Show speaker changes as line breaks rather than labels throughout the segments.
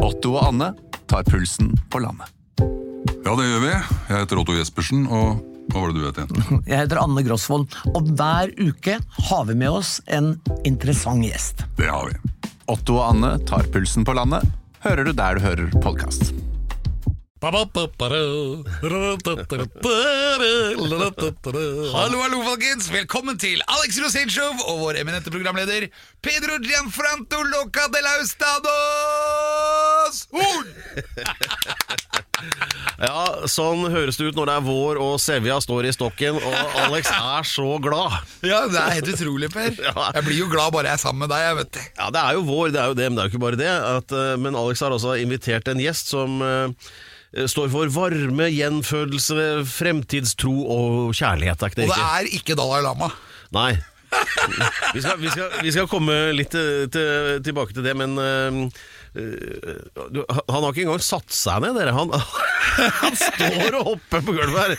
Otto og Anne tar pulsen på landet.
Ja, det gjør vi. Jeg heter Otto Jespersen, og hva var det du het igjen?
Jeg heter Anne Grosvold, og hver uke har vi med oss en interessant gjest.
Det har vi.
Otto og Anne tar pulsen på landet, hører du der du hører podkast.
Hallo, hallo, folkens! Velkommen til Alex Rosinshov og vår eminente programleder Pedro Gianfranto Loca de Laustados Horn!
Ja, Sånn høres det ut når det er vår og Sevja står i stokken, og Alex er så glad.
Ja, det er helt utrolig, Per. Jeg blir jo glad bare jeg er sammen med deg, jeg, vet du.
Ja, Det er jo vår, det er jo det, men det er jo ikke bare det. At, eh, men Alex har altså invitert en gjest som eh, står for varme, gjenfødelse, fremtidstro og kjærlighet. Er ikke det
Og det
riktig?
er ikke Dalai Lama.
Nei. Vi skal, vi, skal, vi skal komme litt eh, til, tilbake til det, men eh, eh, du, Han har ikke engang satt seg ned, dere. Han, han står og hopper på gulvet her.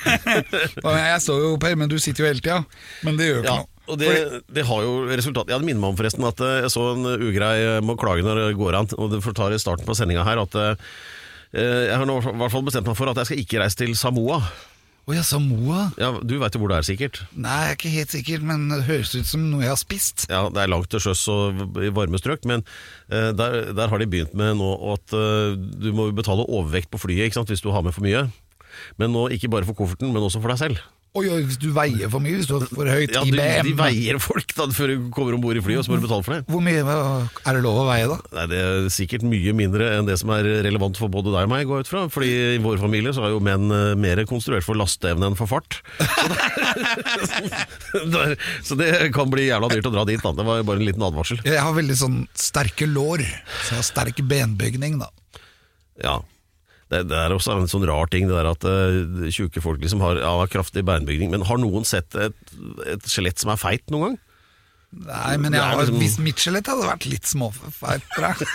Ja, men Jeg står jo, Per, men du sitter jo hele tida. Men det gjør ikke
Ja,
noe.
og det, det har jo resultat Jeg hadde minnet meg om forresten at eh, jeg så en ugrei eh, må klage når det går an, og det fortar i starten på sendinga her at eh, jeg har nå i hvert fall bestemt meg for at jeg skal ikke reise til Samoa.
Å ja, Samoa?
Ja, du veit jo hvor det er, sikkert.
Nei, jeg er ikke helt sikker, men det høres ut som noe jeg har spist.
Ja, Det er langt til sjøs og i varme strøk, men eh, der, der har de begynt med nå at eh, du må betale overvekt på flyet ikke sant, hvis du har med for mye. Men nå ikke bare for kofferten, men også for deg selv.
Oi, oi, hvis du veier for mye, hvis du har for høyt
Ja, du,
IBM
De veier folk da før du kommer om bord i flyet, og så må du betale for det.
Hvor mye er det lov å veie, da?
Nei, Det er sikkert mye mindre enn det som er relevant for både deg og meg, går jeg ut fra. Fordi i vår familie så er jo menn eh, mer konstruert for lasteevne enn for fart. Så det, der, så det kan bli jævla dyrt å dra dit, da. Det var bare en liten advarsel.
Jeg har veldig sånn sterke lår, så jeg har sterk benbygning, da.
Ja. Det, det er også en sånn rar ting, det der at uh, tjukke folk liksom har ja, kraftig beinbygning. Men har noen sett et, et skjelett som er feit noen gang?
Nei, men
Det
jeg
er
har,
liksom-
hvis mitt skjelett hadde vært litt småfeit tror jeg.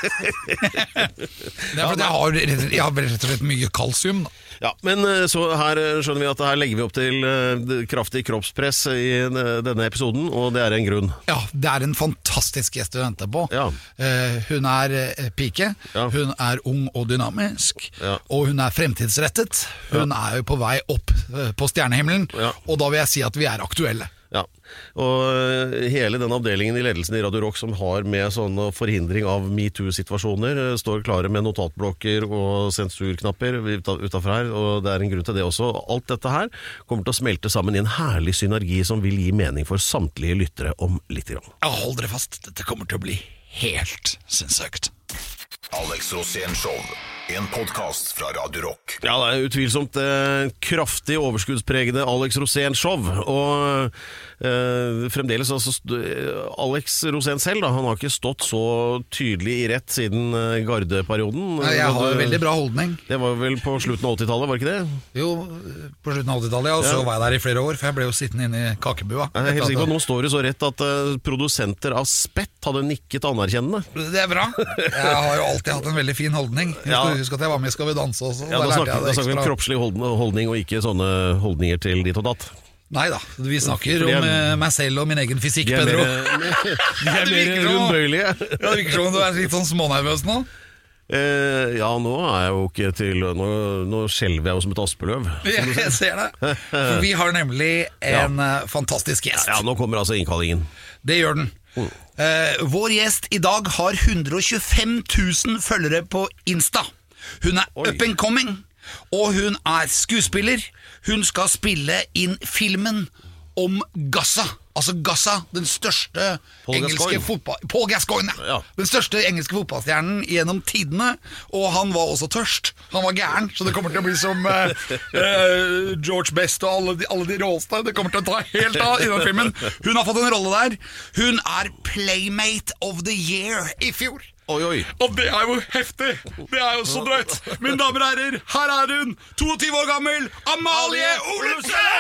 Det er fordi jeg har, rett- jeg har rett og slett mye kalsium, da.
Ja, men eh, så her eh, skjønner vi at her legger vi opp til eh, det- kraftig kroppspress i eh, denne episoden, og det er en grunn.
Ja, det er en fantastisk gjest du venter på.
Ja.
Eh, hun er eh, pike,
Ja.
hun er ung og dynamisk,
Ja.
og hun er fremtidsrettet. Hun er jo på vei opp eh, på stjernehimmelen,
Ja.
og da vil jeg si at vi er aktuelle.
Ja, og eh, hele den avdelingen i ledelsen i Radio Rock som har med sånne forhindring av metoo-situasjoner, eh, står klare med notatblokker og sensurknapper utafor her, og det er en grunn til det også. Alt dette her kommer til å smelte sammen i en herlig synergi som vil gi mening for samtlige lyttere om lite grann.
Ja, hold dere fast, dette kommer til å bli helt sinnssykt.
Alex Rosénshow. En podkast fra Radio Rock.
Ja, det er utvilsomt eh, kraftig overskuddspregede Alex Rosén-show. Og eh, fremdeles altså st- eh, Alex Rosén selv, da. Han har ikke stått så tydelig i rett siden eh, gardeperioden. Eh,
Nei, Jeg har jo veldig bra holdning.
Det var vel på slutten av 80-tallet, var det ikke det?
Jo, på slutten av 80-tallet, ja, og så var jeg der i flere år, for jeg ble jo sittende inne i kakebua.
Jeg er helt sikker på at Nå står det så rett at eh, produsenter av Spett hadde nikket anerkjennende.
Det er bra. Jeg har jo alltid hatt en veldig fin holdning. Husk,
Ja.
husk at jeg var med i Skal vi danse også.
Ja,
da
Da
lærte
snakker,
jeg
da
det
snakker vi om
ekstra.
kroppslig holdn- holdning, og ikke sånne holdninger til ditt og datt.
Nei da, vi snakker
Fordi
om
jeg-
eh, meg selv og min egen fysikk,
De er
Pedro.
mer, de
Ja, det
er mer
virker som-
rundbøyelige.
Ja, det virker som om du er litt sånn smånervøs nå.
Eh, ja, nå er jeg jo ikke til Nå, nå skjelver jeg jo som et aspeløv.
Jeg ser det. For vi har nemlig en eh, fantastisk gjest.
Ja, nå kommer altså innkallingen.
Det gjør den. Eh, vår gjest i dag har 125 000 følgere på Insta. Hun er
Oi.
up and coming, og hun er skuespiller. Hun skal spille inn filmen om Gaza. Altså Gaza, den største
Paul
engelske
Gascoigne.
fotball... Paul Gascoigne, ja.
Ja.
Den største engelske fotballstjernen gjennom tidene. Og han var også tørst. Han var gæren, så det kommer til å bli som eh, eh, George Best og alle de, alle de råeste. Det kommer til å ta helt av i den filmen. Hun har fått en rolle der. Hun er Playmate of the Year i fjor.
Oi, oi.
Og det er jo heftig! Det er jo så drøyt. Mine damer og herrer, her er hun, 22 år gammel, Amalie Olufsen!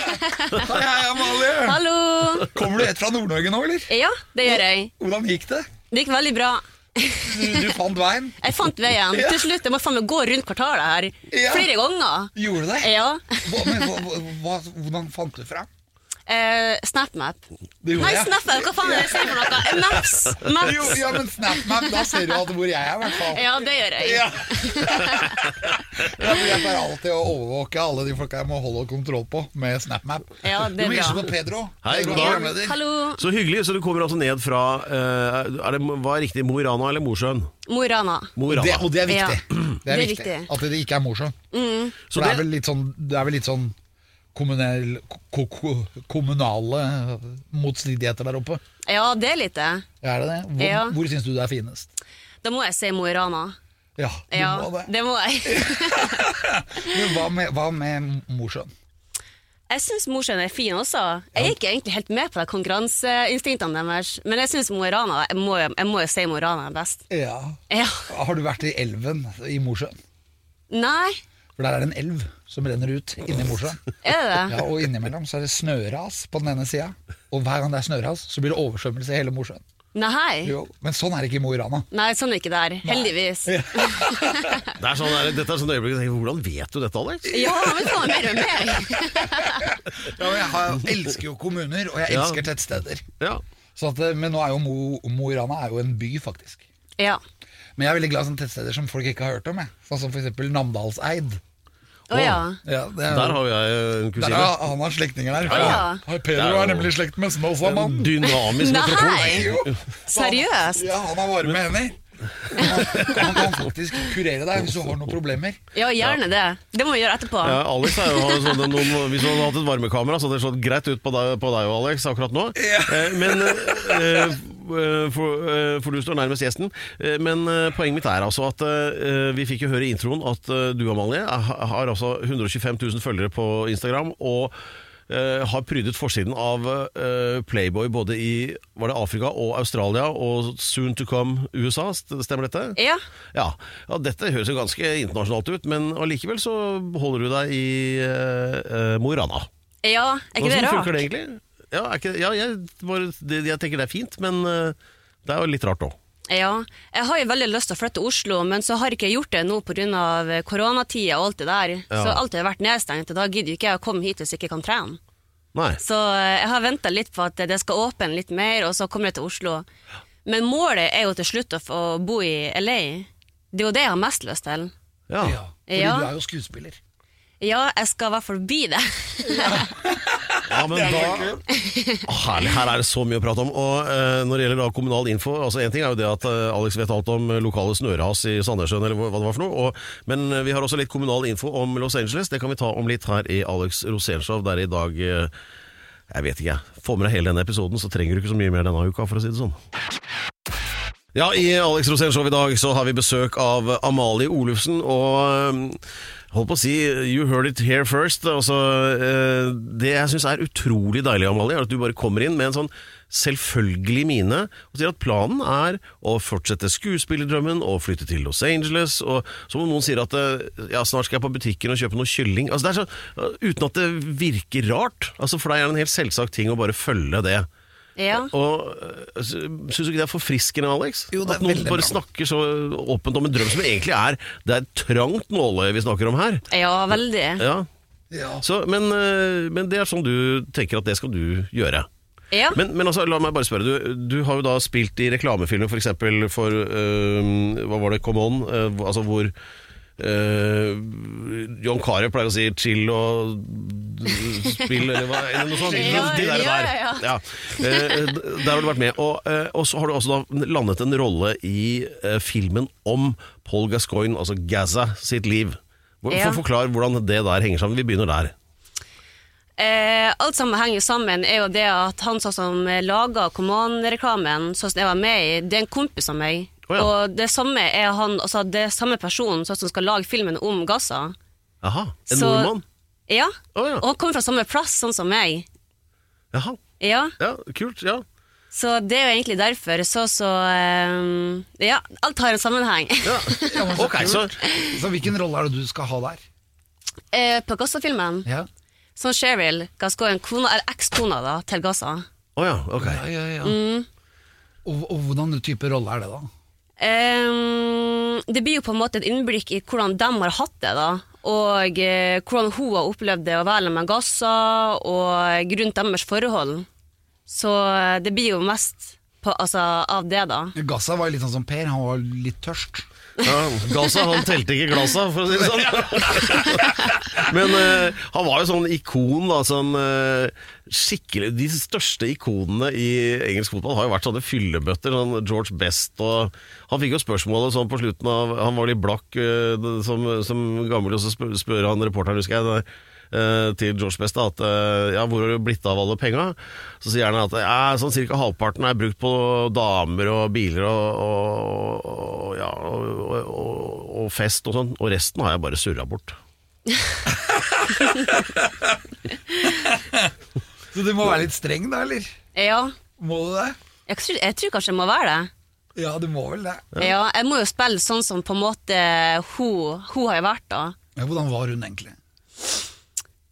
Hei, hei, Amalie.
Hallo!
Kommer du helt fra Nord-Norge nå, eller?
Ja, det gjør jeg.
Hvordan gikk det?
Det gikk veldig bra.
Du, du fant veien?
Jeg fant veien.
Ja.
Til slutt jeg må faen meg gå rundt kvartalet her
Ja.
flere ganger.
Gjorde du det?
Ja.
Hva, men, hva, hva, hvordan fant du fram?
eh, SnapMap.
Det gjorde
Nei,
jeg.
SnapMap, hva faen er det jeg sier for noe? Maps!
Jo,
Maps.
ja, men SnapMap, da ser du at hvor jeg er, i hvert fall.
Ja, det gjør jeg.
Ja. Ja, for jeg pleier alltid å overvåke alle de folka jeg må holde kontroll på med SnapMap.
Ja, det er
du må hilse
bra.
på Pedro.
Hei,
Pedro
god dag.
er programleder.
Hallo,
Så hyggelig. Så du kommer altså ned fra eh, er det, Hva er riktig? Mo i Rana eller Mosjøen?
Mo i Rana.
Mo i
Det,
Rana.
og det er viktig.
Ja.
Det er viktig. At det ikke er morsomt.
Så
For det er
det-
vel litt sånn, det er vel litt sånn kommunell, ko, ko, kommunale motstridigheter der oppe.
Ja, det er litt det.
Er det det? Hvor,
Ja.
hvor syns du det er finest?
Da må jeg si Mo i Rana.
Ja, du
Ja,
må det.
det må jeg.
Men hva med, hva med Mosjøen?
Jeg syns Mosjøen er fin også. Jeg er ikke egentlig helt med på de konkurranseinstinktene deres, men jeg syns Mo i Rana Jeg må jeg må jo si Mo i Rana er best.
Ja.
Ja.
Har du vært i elven i Mosjøen?
Nei,
For der er det en elv som renner ut inni Mosjøen.
er det det?
Ja, og innimellom så er det snøras på den ene sida, og hver gang det er snøras, så blir det oversvømmelse i hele Mosjøen.
Nei.
Jo, Men sånn er det ikke i Mo i Rana.
Nei, sånn er det ikke der. Heldigvis.
Det er sånn, der- dette er sånn øyeblikk jeg tenker, Hvordan vet du dette, Alex?
Ja, men faen mer enn meg!
Ja, men jeg, har, jeg elsker jo kommuner, og jeg
Ja.
elsker tettsteder.
Ja.
Så at, eh, men nå er jo Mo, Mo i Rana er jo en by, faktisk.
Ja.
Men jeg er veldig glad i sånne tettsteder som folk ikke har hørt om. Jeg. Sånn som f.eks. Namdalseid.
Å ja.
Ja, det er,
Der har jo jeg
Der
en kusine.
har- han har slektninger der.
ja.
Ja, Pedro
Det er
er
jo-
nemlig i slekt med Snåsamannen.
Dynamisk metropol.
Nei! Seriøst?
Ja, han har varme hender. Han, han kan faktisk kurere deg hvis du har noen problemer.
Ja, gjerne det. Det må vi gjøre etterpå.
Ja, Alex er jo, har jo sånne, noen, Hvis du hadde hatt et varmekamera, så hadde det slått greit ut på deg, på deg og Alex akkurat nå. Eh, Men eh, eh, for, eh, for du står nærmest gjesten. Eh, Men eh, poenget mitt er altså at eh, vi fikk jo høre i introen at eh, du, Amalie, er- har altså 125 000 følgere på Instagram. og eh, har prydet forsiden av eh, Playboy både i var det Afrika og Australia og soon to come USA. st- Stemmer dette?
Ja.
Ja, ja dette høres jo ganske internasjonalt ut, men allikevel så holder du deg i uh, Mo i Rana.
Ja, er ikke det
Hvordan
rart?
funker det egentlig? Ja, er ikke, ja jeg, bare, det, jeg tenker det er fint, men eh, det er jo litt rart òg.
Ja. Jeg har jo veldig lyst til å flytte til Oslo, men så har ikke jeg gjort det nå pga. koronatida og alt det der.
Ja.
Så alt har vært nedstengt, og da gidder jo ikke jeg å komme hit hvis jeg ikke kan trene.
Nei.
Så eh, jeg har venta litt på at det skal åpne litt mer, og så kommer jeg til Oslo. Men målet er jo til slutt å få bo i LA. Det er jo det jeg har mest lyst til.
Ja.
Ja, fordi
Ja.
du er jo skuespiller.
Ja, jeg skal i hvert fall bli det.
Ja, men da Å, Herlig, her er det så mye å prate om. Og eh, når det gjelder da kommunal info altså En ting er jo det at eh, Alex vet alt om eh, lokale snøras i Sandnessjøen, eller hva hva det var for noe. Og, men eh, vi har også litt kommunal info om Los Angeles. Det kan vi ta om litt her i Alex Rosénshow, der i dag eh, Jeg vet ikke, jeg. Får med deg hele denne episoden, så trenger du ikke så mye mer denne uka, for å si det sånn. Ja, i Alex Rosén Show i dag så har vi besøk av Amalie Olufsen, og eh, øhm, holdt på å si You heard it here first. Altså, øh, det jeg syns er utrolig deilig, Amalie, er at du bare kommer inn med en sånn selvfølgelig mine og sier at planen er å fortsette skuespillerdrømmen og flytte til Los Angeles. Og som om noen sier at øh, ja, snart skal jeg på butikken og kjøpe noe kylling. Altså, det er så, øh, uten at det virker rart. Altså, for deg er det en helt selvsagt ting å bare følge det.
Ja.
Og øh, sy- Syns du ikke det er forfriskende, Alex?
Jo, det er
At noen
veldig
bare
bra.
snakker så åpent om en drøm som egentlig er Det er et trangt nåløye vi snakker om her.
Ja, veldig.
Ja.
Ja.
Så, men, øh, men det er sånn du tenker at det skal du gjøre.
Ja.
Men, men altså, la meg bare spørre. Du, du har jo da spilt i reklamefilmer f.eks. for, eksempel for øh, Hva var det? Come On? øh, hvor- altså hvor øh, John Carew pleier å si 'chill' og spill, eller hva eller noe sånt.
Ja,
de der,
ja,
der.
ja.
Ja. Eh, d- Der har du vært med. Og, eh, og så har du også da landet en rolle i eh, filmen om Paul Gascoigne, altså Gaza, sitt liv. Hvor-
Ja.
For Forklar hvordan det der henger sammen. Vi begynner der.
Eh, alt sammen henger jo sammen, er jo det at han sånn som laga Command-reklamen, sånn som jeg var med i, det er en kompis av meg.
Å, ja.
Og det samme er han, altså det er samme personen sånn som skal lage filmen om Gaza.
Jaha, en
Så-
nordmann?
Ja.
Å, ja.
Og han kommer fra samme plass, sånn som meg.
Jaha,
Ja.
ja, kult. ja
Så det er jo egentlig derfor. Så så eh, Ja, alt har en sammenheng.
Ja, men så
Ok,
kult.
så-
så hvilken rolle er det du skal ha der?
eh, på Gaza-filmen,
Ja.
som Cheryl Gascoigne, kona, eller ekskona da, til Gaza.
Å ja, ok.
Mm. Ja, ja, ja. Og, og hvordan type rolle er det, da?
Ehm, det blir jo på en måte et innblikk i hvordan de har hatt det, da. Og eh, hvordan hun har opplevd det å være med gasser, og rundt deres forhold. Så eh, det blir jo mest på, altså, av det, da.
Gassa var jo litt sånn som Per, han var litt tørst.
Ja, Gaza han telte ikke glassa, for å si det sånn. Men eh, han var jo sånn ikon da, som eh, skikkelig De største ikonene i engelsk fotball har jo vært sånne fyllebøtter. Sånn George Best og Han fikk jo spørsmålet sånn på slutten av Han var litt blakk eh, det- som, som gammel, og så spør, spør han reporteren, husker jeg. det der, eh, til George Best da, at eh, ja, hvor har du blitt av alle penga? Så sier han at ja, sånn cirka halvparten er brukt på damer og biler og, og, og, ja, og, og, og fest og sånn, og resten har jeg bare surra bort.
Så du må være litt streng da, eller?
Ja.
Må du det?
Jeg tror, jeg tror kanskje jeg må være det.
Ja, du må vel det.
Ja. jeg må jo spille sånn som på en måte hun, hun har jo vært, da.
Ja, hvordan var hun egentlig?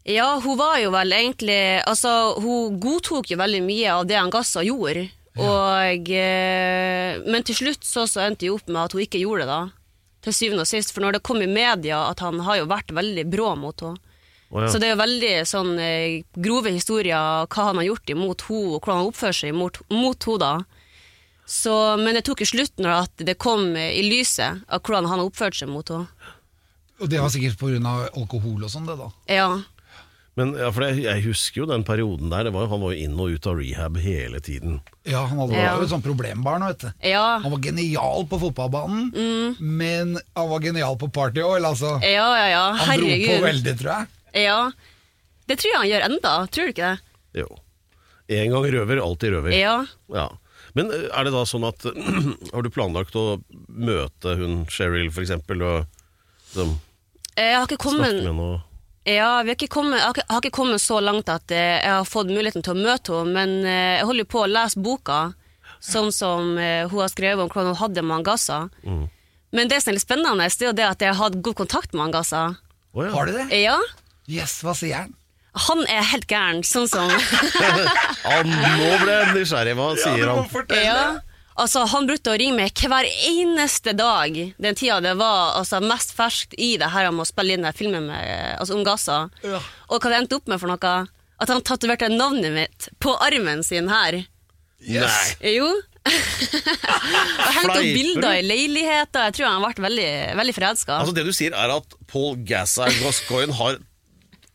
Ja, hun var jo vel egentlig Altså, hun godtok jo veldig mye av det han Gassa gjorde. Og, eh, men til slutt så, så endte jeg opp med at hun ikke gjorde det, da. Til syvende og sist. For når det kom i media at han har jo vært veldig brå mot henne.
Å, ja.
Så det er jo veldig sånn eh, grove historier hva han har gjort imot henne, og hvordan han oppfører seg imot, mot henne da. Så, men det tok jo slutt når at det kom eh, i lyset av hvordan han har oppført seg mot henne.
Og det var sikkert på grunn av alkohol og sånn det da.
Ja.
Men ja, for jeg, jeg husker jo den perioden der, det var, jo- han var jo inn og ut av rehab hele tiden.
Ja, han hadde
Ja.
var jo et sånt problembarn, vet du.
Ja.
Han var genial på fotballbanen, men han var genial på party òg, eller altså.
Mm. Ja, ja, ja.
Han dro på
Herregud.
veldig, tror jeg.
Ja. Det tror jeg han gjør enda, tror du ikke det?
Jo. En gang røver, alltid røver.
Ja.
Ja. Men eh, er det da sånn at har du planlagt å møte hun Cheryl for eksempel, og liksom,
Eh, Jeg har ikke
snakke
kommet,
med henne og
ja, vi har ikke kommet, jeg har ikke- jeg har ikke kommet så langt at eh, jeg har fått muligheten til å møte henne, men eh, jeg holder jo på å lese boka, sånn som eh, hun har skrevet om hvordan hun hadde det med Angassa. Men det som er litt spennende, det er jo det at jeg har hatt god kontakt med Angassa.
Å ja.
Har de det?
Ja,
Yes, hva sier han?
han er helt gæren, sånn som...
Ja, nå ble jeg nysgjerrig. Hva sier han?
Ja. Altså, han brukte å ringe meg hver eneste dag den tida det var altså, mest ferskt i det her om å spille inn den filmen med, altså, om Gaza.
Ja.
Og hva det endte opp med for noe? At han tatoverte navnet mitt på armen sin her.
Nei.
Jo. og hengte opp
Fleiper
bilder i leiligheter. Jeg tror han ble veldig, veldig forelska.
Altså Det du sier, er at Paul Gassar Gascoigne har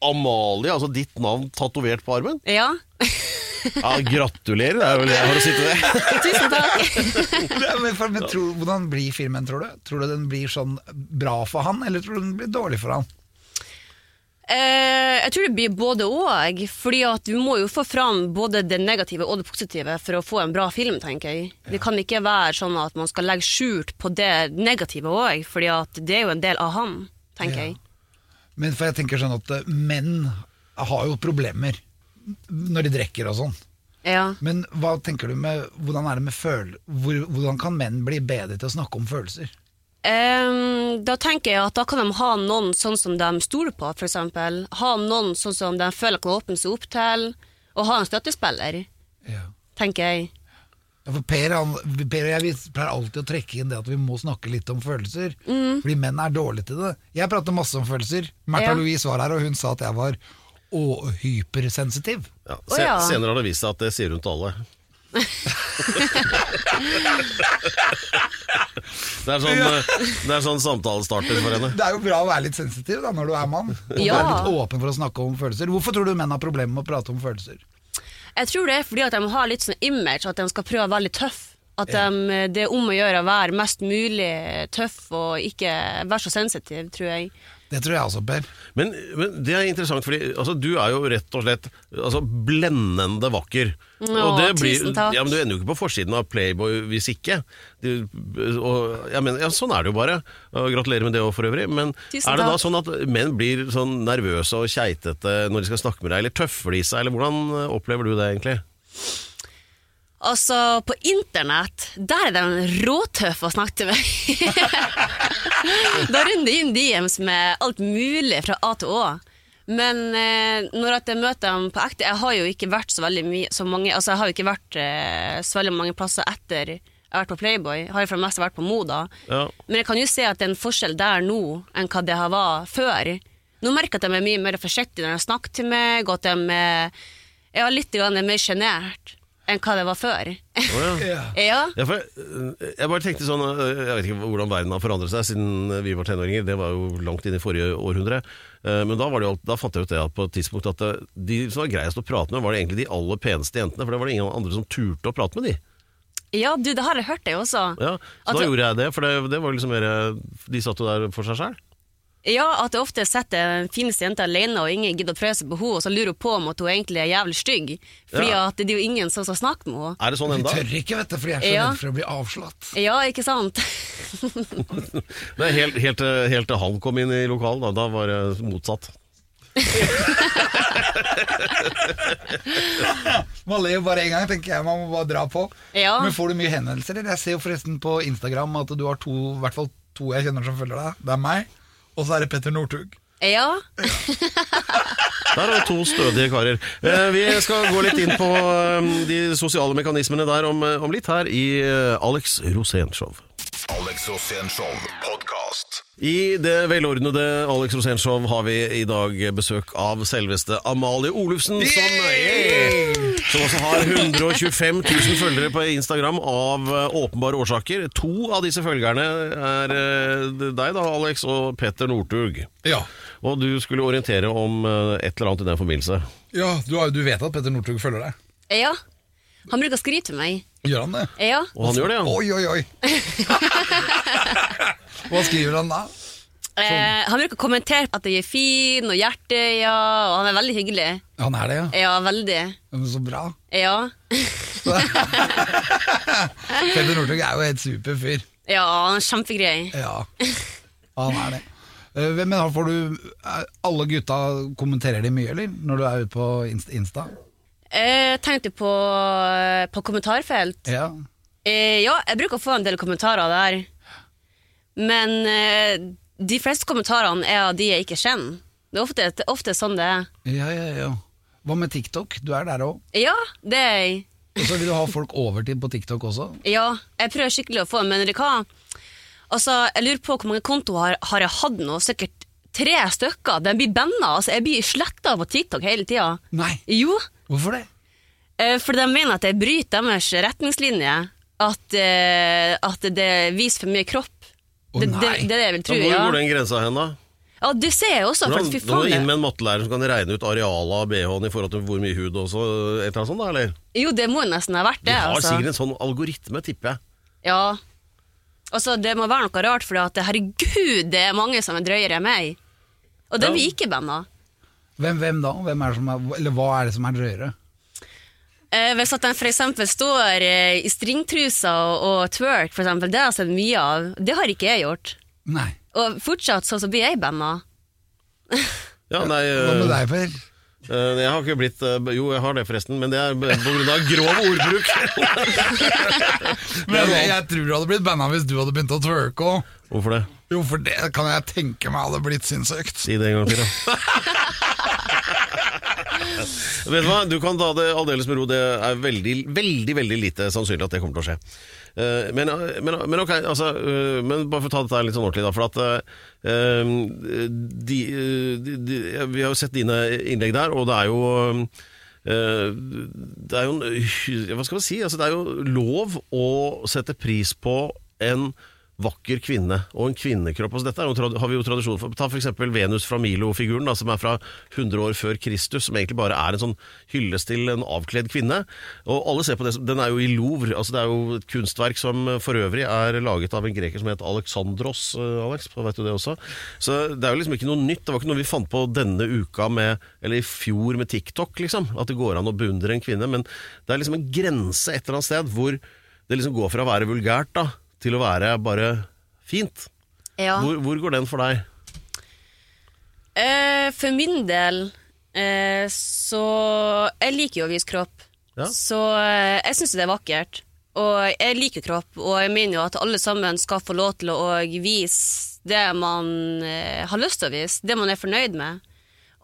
Amalie, altså ditt navn, tatovert på armen?
Ja.
Ja, Gratulerer, det er vel det jeg har å si til det.
Tusen takk.
Ja, men for, men tror, hvordan blir filmen, tror du? Tror du den blir sånn bra for han, eller tror du den blir dårlig for han?
Eh, jeg tror det blir både òg, fordi at du må jo få fram både det negative og det positive for å få en bra film, tenker jeg. Det kan ikke være sånn at man skal legge skjult på det negative òg, fordi at det er jo en del av han, tenker
Ja.
jeg.
Men for jeg tenker sånn at eh, menn har jo problemer når de drikker og sånn.
Ja.
Men hva tenker du med, hvordan er det med føl... Hvor, hvordan kan menn bli bedre til å snakke om følelser?
Ehm, da tenker jeg at da kan de ha noen sånn som de stoler på, f.eks. Ha noen sånn som de føler kan åpne seg opp til, og ha en støttespiller,
Ja.
tenker jeg.
for per, han, per og jeg vi pleier alltid å trekke inn det at vi må snakke litt om følelser. Fordi menn er dårlige til det. Jeg prater masse om følelser. Märtha
Mm. Ja.
Louise var her, og hun sa at jeg var å, hypersensitiv.
Ja,
Å, ja.
sen- Senere har det vist seg at det sier hun til alle. Det er sånn, eh, det er sånn samtalestarter for henne.
Det er jo bra å være litt sensitiv da, når du er mann. Og være
Ja.
litt åpen for å snakke om følelser. Hvorfor tror du menn har problemer med å prate om følelser?
Jeg tror det er fordi at de har litt sånn image, at de skal prøve å være veldig tøff. At de, eh, det er om å gjøre å være mest mulig tøff og ikke være så sensitiv, tror jeg.
Det tror jeg også, Per.
Men, men det er interessant, fordi altså, du er jo rett og slett altså, blendende vakker. Og det
tusen takk.
Ja, men du ender jo ikke på forsiden av Playboy hvis ikke. Du, og, jeg mener, ja, sånn er det jo bare. Og gratulerer med det òg, for øvrig. Men
Tusen
er det da
takk.
sånn at menn blir sånn nervøse og keitete når de skal snakke med deg, eller tøffer de seg, eller hvordan eh, opplever du det egentlig?
Altså, på internett, der er de råtøffe å snakke til meg. da runder de inn DMs med alt mulig fra A til Å. Men eh, når at jeg møter dem på ekte Jeg har jo ikke vært så veldig mye så mange, altså jeg har jo ikke vært eh, så veldig mange plasser etter jeg jeg har vært på Playboy, har jeg for det meste vært på Moda.
Ja.
Men jeg kan jo se at det er en forskjell der nå enn hva det har var før. Nå merker jeg at de er mye mer forsiktige når de snakker til meg, og at de eh, er ja, litt grann mer sjenert enn hva det var før. ja.
Ja, for øh, jeg bare tenkte sånn øh, Jeg vet ikke hvordan verden har forandret seg siden øh, vi var tenåringer. Det var jo langt inn i forrige århundre. Eh, Men da, var det jo, alt- da fant jeg ut det at på et tidspunkt at øh, de som var greiest å prate med, var det egentlig de aller peneste jentene. For det var det ingen andre som turte å prate med de.
ja, du, det har jeg hørt deg også.
Ja, så
At
da
det-
gjorde jeg det, for det, det var jo liksom mer øh, De satt jo der for seg sjøl.
Ja, at jeg ofte setter den fineste jenta alene, og ingen gidder å prøve seg på henne, og så lurer hun på om at hun egentlig er jævlig stygg. Fordi
Ja.
at det er jo ingen som skal snakke med henne.
Er det sånn
De
enda?
tør ikke, vet du, for de er så
Ja.
redde for å bli avslått.
Ja, ikke sant?
Nei, helt, helt, til- helt til han kom inn i lokalet, da, da var det motsatt.
Man ler jo bare én gang, tenker jeg. Man må bare dra på.
Ja.
Men får du mye henvendelser? eller? Jeg ser jo forresten på Instagram at du har to, i hvert fall to jeg kjenner som følger deg. Det er meg, og så er det Petter Northug.
Ja.
Der har vi to stødige karer. Eh, Vi skal gå litt inn på eh, de sosiale mekanismene der om, om litt her i eh, Alex Rosén-show.
Alex Rosénshow podkast.
I det velordnede Alex Rosénshow har vi i dag besøk av selveste Amalie Olufsen, som, Yeah! som også har 125 000 følgere på Instagram av eh, åpenbare årsaker. To av disse følgerne er eh, deg, da, Alex, og Petter Northug.
Ja.
Og du skulle orientere om eh, et eller annet i den forbindelse.
Ja, du, har- du vet at Petter Northug følger deg?
ja. Han bruker å skryte med meg.
Gjør han det?
Ja.
Og han gjør det, ja.
Oi, oi, oi. Hva skriver han da?
Eh, han bruker å kommentere at jeg er fin, og hjerte, ja, og han er veldig hyggelig.
Han er det, ja.
Ja, veldig.
Men Så bra.
Ja.
Petter Northug er jo helt super fyr.
Ja, han er kjempegrei.
Ja, han er det. Eh, Men da får du er- Alle gutta kommenterer de mye, eller? Når du er ute på Inst- Insta?
Eh, tenkte på, eh, på kommentarfelt.
Ja.
Eh, ja, jeg bruker å få en del kommentarer der. Men eh, de fleste kommentarene er av de jeg ikke kjenner. Det er ofte, det er ofte sånn det er.
ja, ja, ja. Hva med TikTok? Du er der òg.
Ja, det er jeg.
Og så vil du ha folk overtid på TikTok også?
Ja, jeg prøver skikkelig å få en, men vet du hva? Altså, jeg lurer på hvor mange kontoer har, har jeg hatt nå? Sikkert tre stykker. Den blir banna. Altså, jeg blir sletta på TikTok hele tida.
Nei,
Jo,
hvorfor det?
eh, for de mener at jeg bryter deres retningslinjer. At, eh, at det viser for mye kropp.
Å,
det, det,
nei.
det er det jeg vil
Så
tro,
Hvor
ja.
går den grensa hen, da?
Ja, det ser jeg også, for
Hvordan,
fy
nå må du inn
faen.
med en mattelærer som kan regne ut arealet av BH-en i forhold til hvor mye hud og så, et eller annet sånt, da, eller?
det- Jo, det må jo nesten ha vært
De
det.
har
Altså.
sikkert en sånn algoritme, tipper jeg.
Ja. Altså, det må være noe rart, for herregud, det er mange som er drøyere enn meg. Og
Ja.
den blir ikke banna.
Hvem, hvem da? Hvem er det som er, eller hva er det som er drøyere?
Eh, hvis at den for eksempel står eh, i stringtrusa og, og twerk, for eksempel, det har jeg sett mye av. Det har ikke jeg gjort.
Nei.
Og fortsatt sånn så blir jeg banna.
Ja, nei,
Hva med
øh,
deg, Per?
øh, jeg har ikke blitt øh, Jo, jeg har det forresten, men det er på grunn av grov ordbruk.
Men jeg, jeg tror du hadde blitt banna hvis du hadde begynt å twerke òg.
Hvorfor det?
Jo, for det kan jeg tenke meg hadde blitt sinnssykt.
Si det en gang til, da. Vet du hva, du kan ta det aldeles med ro. Det er veldig, veldig veldig lite sannsynlig at det kommer til å skje. Eh, Men, eh, men, men ok, altså eh, Men bare for å ta dette her litt sånn ordentlig, da. For at eh, eh, de, eh, de, de, ja, Vi har jo sett dine innlegg der, og det er jo eh, Det er jo en ja, Hva skal man si? Altså, det er jo lov å sette pris på en vakker kvinne og en kvinnekropp. Altså, dette er jo, trad- har vi jo tradisjon for. Ta f.eks. Venus fra Milo-figuren, da, som er fra 100 år før Kristus, som egentlig bare er en sånn hyllest til en avkledd kvinne. Og alle ser på det som Den er jo i Louvre. Altså, det er jo et kunstverk som eh, for øvrig er laget av en greker som het Alexandros. eh, Alex, for vet du det også? Så det er jo liksom ikke noe nytt. Det var ikke noe vi fant på denne uka med, eller i fjor med TikTok, liksom. At det går an å beundre en kvinne. Men det er liksom en grense et eller annet sted hvor det liksom går fra å være vulgært da, til å være bare fint.
Ja.
Hvor, hvor går den for deg?
Eh, for min del eh, så Jeg liker jo å vise kropp.
Ja.
Så eh, jeg syns det er vakkert. Og jeg liker kropp, og jeg mener jo at alle sammen skal få lov til å og vise det man eh, har lyst til å vise, det man er fornøyd med.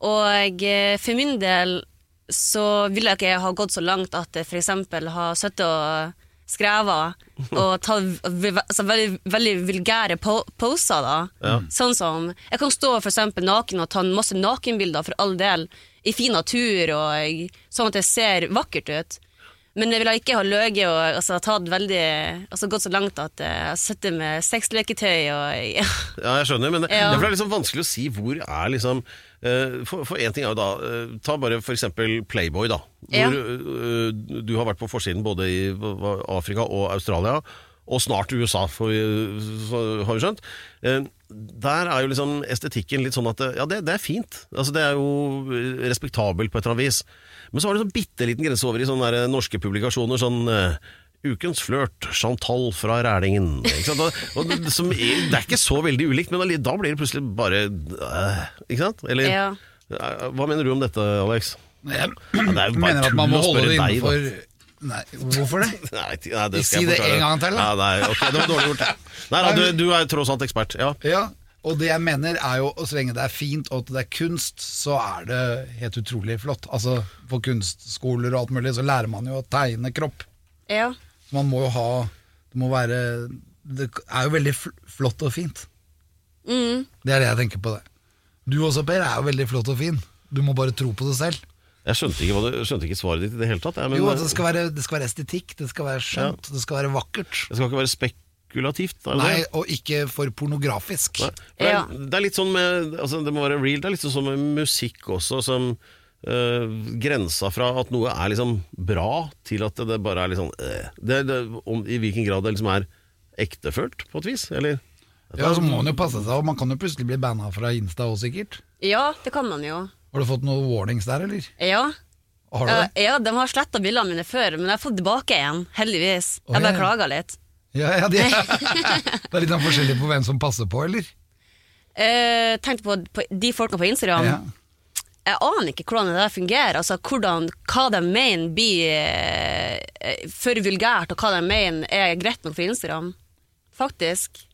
Og eh, for min del så ville jeg ikke ha gått så langt at jeg f.eks. har sittet og skrever og tar v- v- altså, veldig, veldig vulgære po poser. da. Sånn som Jeg kan stå for eksempel naken og ta masse nakenbilder for all del i fin natur, og sånn at jeg ser vakkert ut. Men jeg ville ikke ha løyet og altså, tatt veldig, altså, gått så langt at jeg sitter med sexleketøy og
Ja, jeg skjønner, men det-
Ja.
derfor er det liksom vanskelig å si hvor er liksom eh, For, for en ting er jo da eh, Ta bare for eksempel Playboy, da. Hvor
Ja.
eh, du har vært på forsiden både i hva- Afrika og Australia, og snart USA, for, vi- så, har vi skjønt. Eh, Der er jo liksom estetikken litt sånn at eh, ja, det, det er fint. Altså, det er jo eh, respektabelt på et eller annet vis. Men så har du sånn bitte liten grense over i sånne der, eh, norske publikasjoner. sånn... eh, Ukens flørt, Chantal fra Rælingen. Ikke sant? Og, og, som er, det er ikke så veldig ulikt, men alli- da blir det plutselig bare øh, Ikke sant? Eller
Ja.
eh, Hva mener du om dette, Alex?
Jeg
det er jo bare
mener at man
tull
må
å
holde det
spørre deg, da.
innenfor Nei, hvorfor det?
Nei, ti- nei, det
Ikke
skal
si
jeg
det
forklare.
en gang til, da.
Nei, nei, ok, det var dårlig gjort. Nei, nei, du, du er tross alt ekspert. Ja.
Ja, og det jeg mener er jo Så lenge det er fint og at det er kunst Så er det helt utrolig flott Altså på kunstskoler og alt mulig Så lærer man jo å tegne kropp
Ja.
Så man må jo ha Det må være Det er jo veldig fl- flott og fint
Mm.
Det er det jeg tenker på det Du også Per er jo veldig flott og fin Du må bare tro på det selv
Jeg skjønte ikke, hva du, skjønte ikke svaret ditt i det hele tatt. Jeg, men,
Jo,
eh,
altså, det, skal være, det skal være estetikk Det skal være skjønt Det skal være vakkert
det skal ikke være spekulativt. er det
Nei,
det?
og ikke for pornografisk
Nei, for det,
Ja.
er, det er litt sånn med altså Det må være real. Det er litt sånn som med musikk også, som øh, grensa fra at noe er liksom bra, til at det bare er litt sånn øh. det, det, om, I hvilken grad det liksom er ektefølt, på et vis? Eller?
Ja, så må man jo passe seg Og man kan jo plutselig bli bannet fra Insta også sikkert
ja, det kan man jo.
Har du fått noen warnings der, eller?
Ja.
Har du
Ja,
det?
ja, de har sletta bildene mine før, men jeg har fått tilbake igjen, heldigvis.
Å,
Jeg bare
ja.
klaga litt.
Ja, ja, det, det er litt sånn forskjellig på hvem som passer på, eller?
Eh, tenkte på, på de folka på Instagram.
Ja.
Jeg aner ikke hvordan det der fungerer. Altså, hvordan, hva de mener blir eh, eh, for vulgært, og hva de mener er greit nok for Instagram. Faktisk.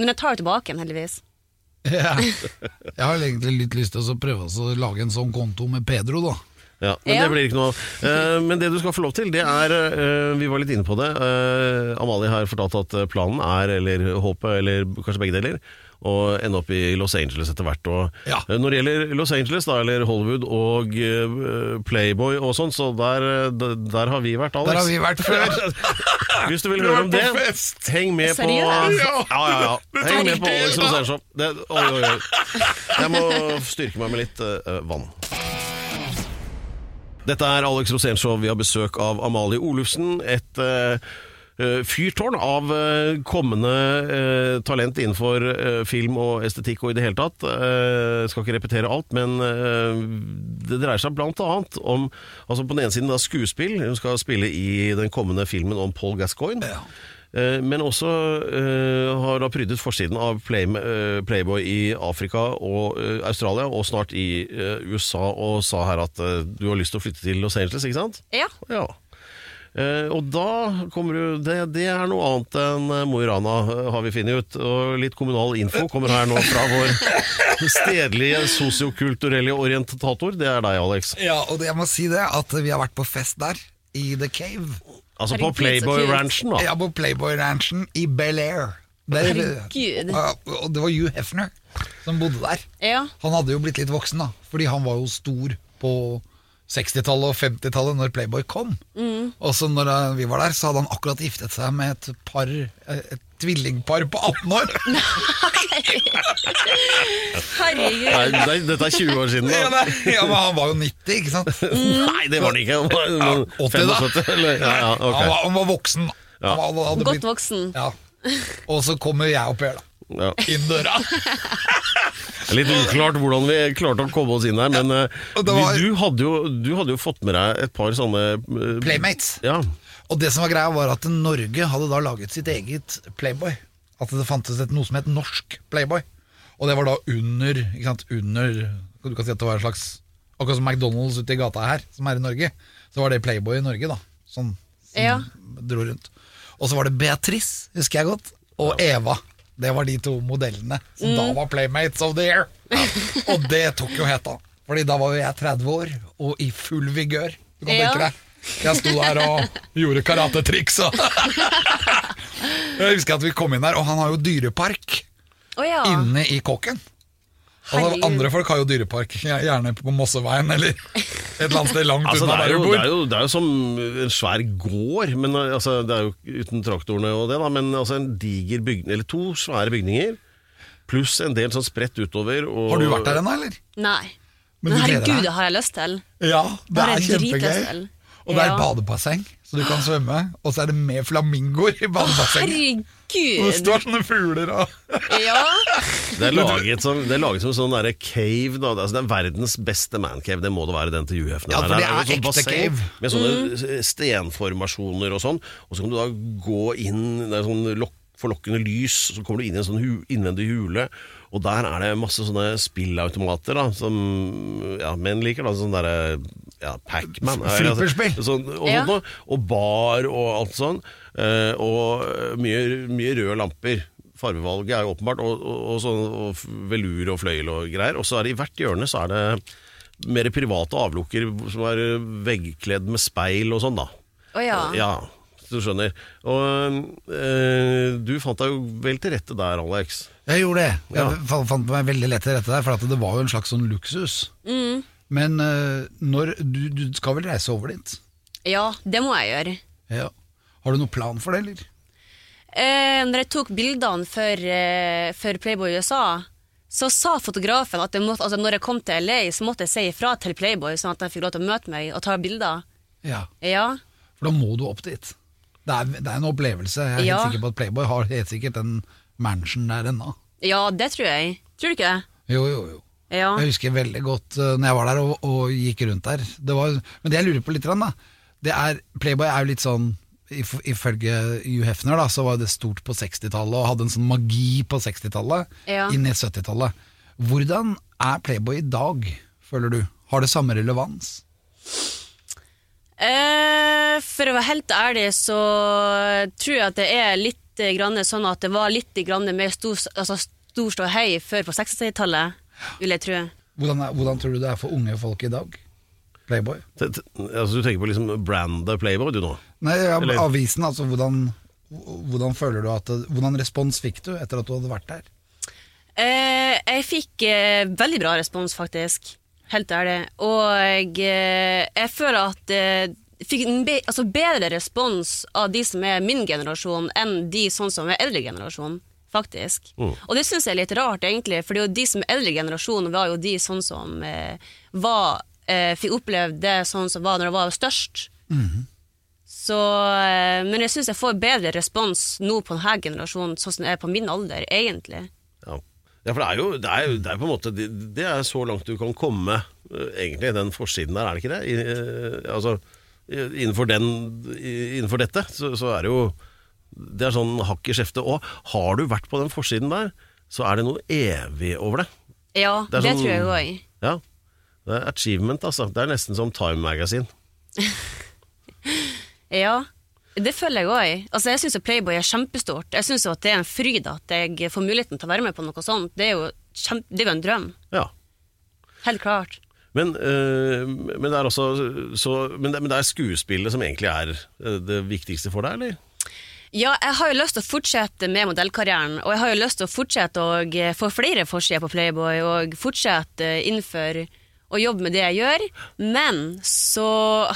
Men jeg tar det tilbake igjen, heldigvis.
Ja. Jeg har egentlig litt lyst til å prøve å lage en sånn konto med Pedro, da.
Ja, men
Ja.
det blir ikke noe av. Eh, Men det du skal få lov til, det er eh, Vi var litt inne på det. Eh, Amalie har fortalt at planen er, eller håpet, eller kanskje begge deler, å ende opp i Los Angeles etter hvert. Og,
Ja.
Eh, Når det gjelder Los Angeles, da, eller Hollywood og eh, Playboy og sånn, så der, eh, d- der har vi vært, Alex.
Der har vi vært før.
Hvis du vil høre om det, heng med på
Seriøst?
Ja, ja, ja. Heng med på Alex Rosénshow. sånn. Det- Oi, oi, oi. Jeg må styrke meg med litt eh, vann. Dette er Alex Rosénshow. Vi har besøk av Amalie Olufsen. Et eh, eh, fyrtårn av eh, kommende eh, talent innenfor eh, film og estetikk og i det hele tatt. Eh, skal ikke repetere alt, men eh, det dreier seg blant annet om altså På den ene siden da skuespill. Hun skal spille i den kommende filmen om Paul Gascoigne. Eh, Men også eh, har da prydet forsiden av Play, eh, Playboy i Afrika og eh, Australia, og snart i eh, USA, og sa her at eh, du har lyst til å flytte til Los Angeles, ikke sant?
Ja.
Ja. Eh, og da kommer du det, det er noe annet enn eh, Mo i Rana, eh, har vi funnet ut. Og litt kommunal info kommer her nå fra vår stedlige sosiokulturelle orientator. Det er deg, Alex.
Ja, og det, jeg må si det, at vi har vært på fest der, i The Cave.
Altså på
Herregud, så kult.
Playboy-ranchen, da.
Ja, på Playboy-ranchen i Bel-Air. Der-
Herregud.
Ja, Og det var Hugh Hefner som bodde der.
Ja.
Han hadde jo blitt litt voksen, da, fordi han var jo stor på 60-tallet og 50-tallet, når Playboy kom.
Mm.
Og så når eh, vi var der, så hadde han akkurat giftet seg med et par eh, Et tvillingpar på 18 år.
Herregud.
Nei, nei, dette er 20 år siden,
ja,
da.
men- ja, men han var jo 90, ikke sant?
Nei, det var det ikke. Det var
80 Mm. da.
75, eller? Ja, ja, ok.
han, var, han var voksen. Han var, hadde blitt-
Godt voksen.
Ja. Og så kommer jeg opp her, da.
Ja.
Inn døra.
Litt uklart hvordan vi klarte å komme oss inn her, men eh,
Og det var-
vi- du, hadde jo, du hadde jo fått med deg et par sånne eh,
Playmates.
Ja.
Og det som var greia, var at Norge hadde da laget sitt eget Playboy. At det fantes et, noe som het norsk Playboy. Og det var da under, ikke sant, under Du kan si at det var en slags Akkurat som McDonald's ute i gata her, som er i Norge. Så var det Playboy i Norge, da. Sånn, som
Ja.
dro rundt. Og så var det Beatrice, husker jeg godt. Og Eva. Det var de to modellene som da var Playmates of the Year. Og det tok jo heta. Fordi da var jo jeg 30 år og i full vigør. Du kan
Ja.
tenke deg. Jeg sto der og gjorde karatetriks. Og jeg husker at vi kom inn der, og han har jo dyrepark
Å ja.
inne i kåken. Altså,
Herregud.
andre folk har jo dyrepark, gjerne på Mosseveien eller et eller annet sted langt
Altså, det,
unna
er
der
jo,
du bor.
det, er jo, det er jo som en svær gård, men uh, altså, det er jo uten traktorene og det, da, men altså, en diger bygning, eller to svære bygninger, pluss en del sånn spredt utover. Og,
Har du vært der ennå, eller?
Nei.
Men
Men,
du gleder
herregud,
deg?
det har jeg lyst til.
Ja, det
Bare
er
drit lyst til.
kjempegøy. Og det er
Ja.
et badebasseng, så du kan svømme. Og så er det med flamingoer i badebassenget. Og Det
Herregud!
står sånne fugler og
Ja.
Det er laget som, det er laget som en sånn derre cave. Da. Altså, det er verdens beste mancave. Det må det være den til UF.
Ja, for det er ekte cave.
sånn
Mm.
Med sånne stenformasjoner og sånn. Og så kan du da gå inn Det er sånn lokk, forlokkende lys, så kommer du inn i en sånn hu, innvendig hule. Og der er det masse sånne spillautomater da, som ja, menn liker. da, Sånn derre ja, Pacman. eller, altså,
Flipperspill.
Sånn, og,
Ja.
sånt, noe, og bar og alt sånn. eh, og mye, mye røde lamper. Farvevalget er jo åpenbart. Og, og, og, sånn, og f- velur og fløyel og greier. Og så er det i hvert hjørne så er det mer private avlukker som er eh, veggkledd med speil og sånn, da.
Å ja.
Ja, du skjønner. Og eh, du fant deg jo vel til rette der, Alex.
Jeg gjorde det. Jeg fa- fant meg veldig lett til rette der, for at det var jo en slags sånn luksus. Men eh, når du, du skal vel reise over dit?
Ja, det må jeg gjøre.
Ja. Har du noen plan for det, eller?
Eh, når jeg tok bildene for, eh, for Playboy USA, så sa fotografen at jeg måtte, altså når jeg kom til LA, så måtte jeg si ifra til Playboy, sånn at de fikk lov til å møte meg og ta bilder.
Ja.
Ja.
For da må du opp dit. Det er, det er en opplevelse. Jeg er
Ja.
helt sikker på at Playboy har helt sikkert den mansion der ennå.
ja, det tror jeg. Tror du ikke det?
Jo, jo, jo.
Ja.
Jeg husker veldig godt uh, når jeg var der og, og gikk rundt der. Det var, men det jeg lurer på litt, grann, da, det er Playboy er jo litt sånn if- Ifølge Hugh Hefner da, så var det stort på 60-tallet og hadde en sånn magi på 60-tallet
Ja.
inn i 70-tallet. Hvordan er Playboy i dag, føler du? Har det samme relevans?
Eh, for å være helt ærlig så tror jeg at det er litt eh, grann sånn at det var litt grann mer stor, altså stor ståhei før på 60-tallet, vil jeg tro.
Hvordan, er, hvordan tror du det er for unge folk i dag? Playboy?
T t altså, du tenker på liksom brandet Playboy, du nå?
Nei, ja,
Eller-
avisen, altså hvordan, hvordan føler du at det- Hvordan respons fikk du etter at du hadde vært der?
Eh, jeg fikk eh, veldig bra respons, faktisk. Helt ærlig. Og eh, jeg føler at eh, fikk en be altså bedre respons av de som er min generasjon, enn de sånn som er eldre generasjon, faktisk. Og det syns jeg er litt rart, egentlig, for de som er eldre generasjon, var jo de sånn som eh, var eh, Fikk opplevd det sånn som var når det var størst. Så, eh, men jeg syns jeg får bedre respons nå på denne generasjonen, sånn som jeg er på min alder, egentlig.
Ja. ja, for det er jo, det er jo det er på en måte Det det er så langt du kan komme, eh, egentlig, den forsiden der, er det ikke det? I, eh, altså, i- innenfor, den, i- innenfor dette, så, så er det jo Det er sånn hakk i skjeftet. Og har du vært på den forsiden der, så er det noe evig over det.
Ja,
er
det,
sånn-
tror jeg òg.
Ja. Det er achievement, altså. Det er nesten som Time Magazine.
Ja. Det føler jeg òg. Altså, jeg syns Playboy er kjempestort. Jeg synes jo at Det er en fryd at jeg får muligheten til å være med på noe sånt. Det er jo, kjem- det er jo en drøm.
Ja.
Helt klart.
Men, eh, men det er også så, men, det, men det er skuespillet som egentlig er eh, det viktigste for deg, eller?
Ja, jeg har jo lyst til å fortsette med modellkarrieren, og jeg har jo lyst til å fortsette å eh, få flere forsider på Playboy, og fortsette eh, innenfor å jobbe med det jeg gjør. Men så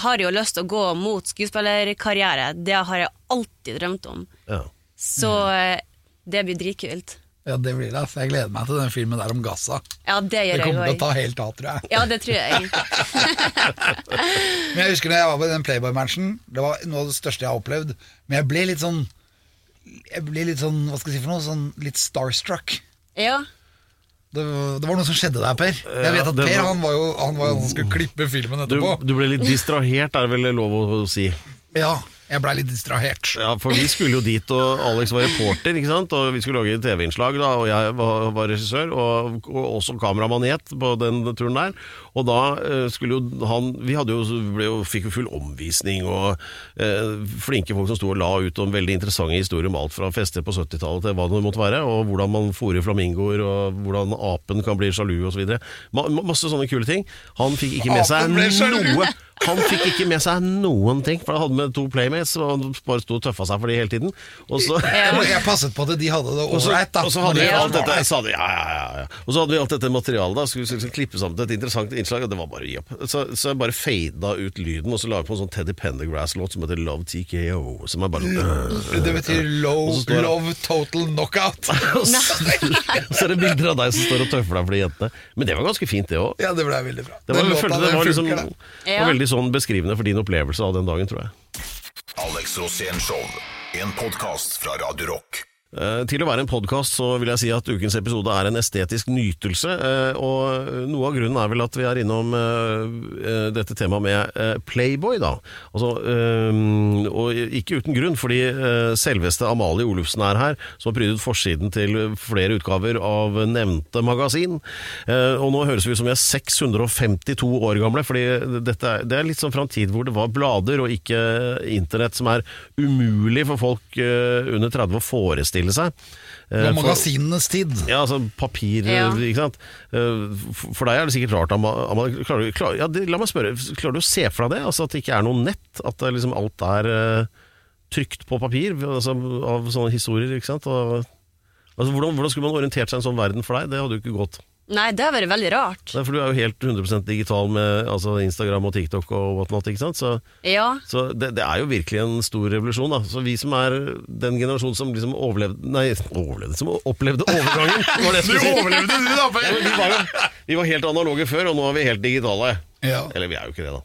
har jeg jo lyst til å gå mot skuespillerkarriere. Det har jeg alltid drømt om.
Ja.
Så
Mhm.
eh, det blir dritkult.
Ja, det blir det. ass. Jeg gleder meg til den filmen der om Gaza.
Ja, det
Det
gjør jeg
kommer til å
òg.
ta helt av, tror jeg.
Ja, det tror jeg.
Men jeg husker når jeg var på den Playboy-matchen, det var noe av det største jeg har opplevd. Men jeg ble litt sånn Jeg ble litt sånn, hva skal jeg si for noe, sånn litt starstruck.
Ja.
Det, var- det var noe som skjedde der, Per. Jeg vet at
det
Per
var- Oh.
han var jo han var jo han som skulle klippe filmen
Du,
etterpå.
du ble litt distrahert, er det vel lov å å si.
Ja, jeg blei litt distrahert.
Ja, For vi skulle jo dit, og Alex var reporter, ikke sant? og vi skulle lage et TV-innslag, da, og jeg var, var regissør, og, og også kameramanet på den turen der. Og da eh, skulle jo han Vi hadde jo, ble jo, fikk jo full omvisning og eh, flinke folk som sto og la ut om veldig interessante historier om alt fra fester på 70-tallet til hva det måtte være, og hvordan man fôrer flamingoer, og hvordan apen kan bli sjalu osv. Ma ma- masse sånne kule ting. Han fikk ikke med seg
Apen ble sjalu!
noe. Han fikk ikke med seg noen ting, for han hadde med to playmates, og han bare sto og tøffa seg for det hele tiden. Og så
Og jeg passet på at de hadde det
og så,
ålreit, da.
og så hadde vi
Når de var
alt dette
der.
så hadde, vi- ja, ja, ja, ja. Og så hadde vi alt dette materialet da Skulle, skulle klippe sammen til et interessant innslag Og det var bare å gi opp Så, så jeg bare fada ut lyden Og så la jeg på en sånn Teddy Pendergrass-låt Som heter Love TKO Som er bare sånn,
Det betyr low,
Og så står det-
love total knockout.
og så, så er det bilder av deg som står og tøffer deg for de jentene Men det var ganske fint det også
Ja, det ble veldig bra.
Det var,
Den
jeg
låta,
følte det
den
var, liksom,
funker, den.
det var veldig sånn beskrivende for din opplevelse av den dagen, tror jeg
Alex Rosénshow. En podkast fra Radio Rock.
Eh, Til å være en podkast så vil jeg si at ukens episode er en estetisk nytelse. eh, Og noe av grunnen er vel at vi er innom eh, eh, dette temaet med eh, Playboy, da. Altså, eh, og ikke uten grunn, fordi eh, selveste Amalie Olufsen er her, som har prydet forsiden til flere utgaver av nevnte magasin. Eh, Og nå høres vi ut som vi er 652 år gamle, fordi dette er, det er litt sånn fra en tid hvor det var blader og ikke internett, som er umulig for folk eh, under 30 å forestille seg. Eh,
Det var
for-
magasinenes tid.
Ja, altså papir,
Ja.
ikke sant. Eh, For for deg er det sikkert rart, Ama- Amalie. Klarer, du- klar, ja, det, la meg spørre, klarer du å se for deg det? Altså At det ikke er noe nett? At det liksom alt er eh, trykt på papir altså, av sånne historier, ikke sant? Og, altså, hvordan, hvordan skulle man orientert seg i en sånn verden for deg? Det hadde jo ikke gått.
Nei, det har vært veldig rart.
Nei, for du er jo helt 100 digital med altså Instagram og TikTok og whatnot, ikke sant? Så,
Ja.
så det, det er jo virkelig en stor revolusjon, da. Så vi som er den generasjonen som liksom overlevde Nei, overlevde, som opplevde overgangen, var det jeg
Du
skulle si.
overlevde, du, da!
Ja, men
Per.
vi, var jo, vi var helt analoge før, og nå er vi helt digitale.
Ja.
Eller vi er jo ikke det, da.